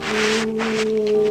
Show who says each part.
Speaker 1: 呜。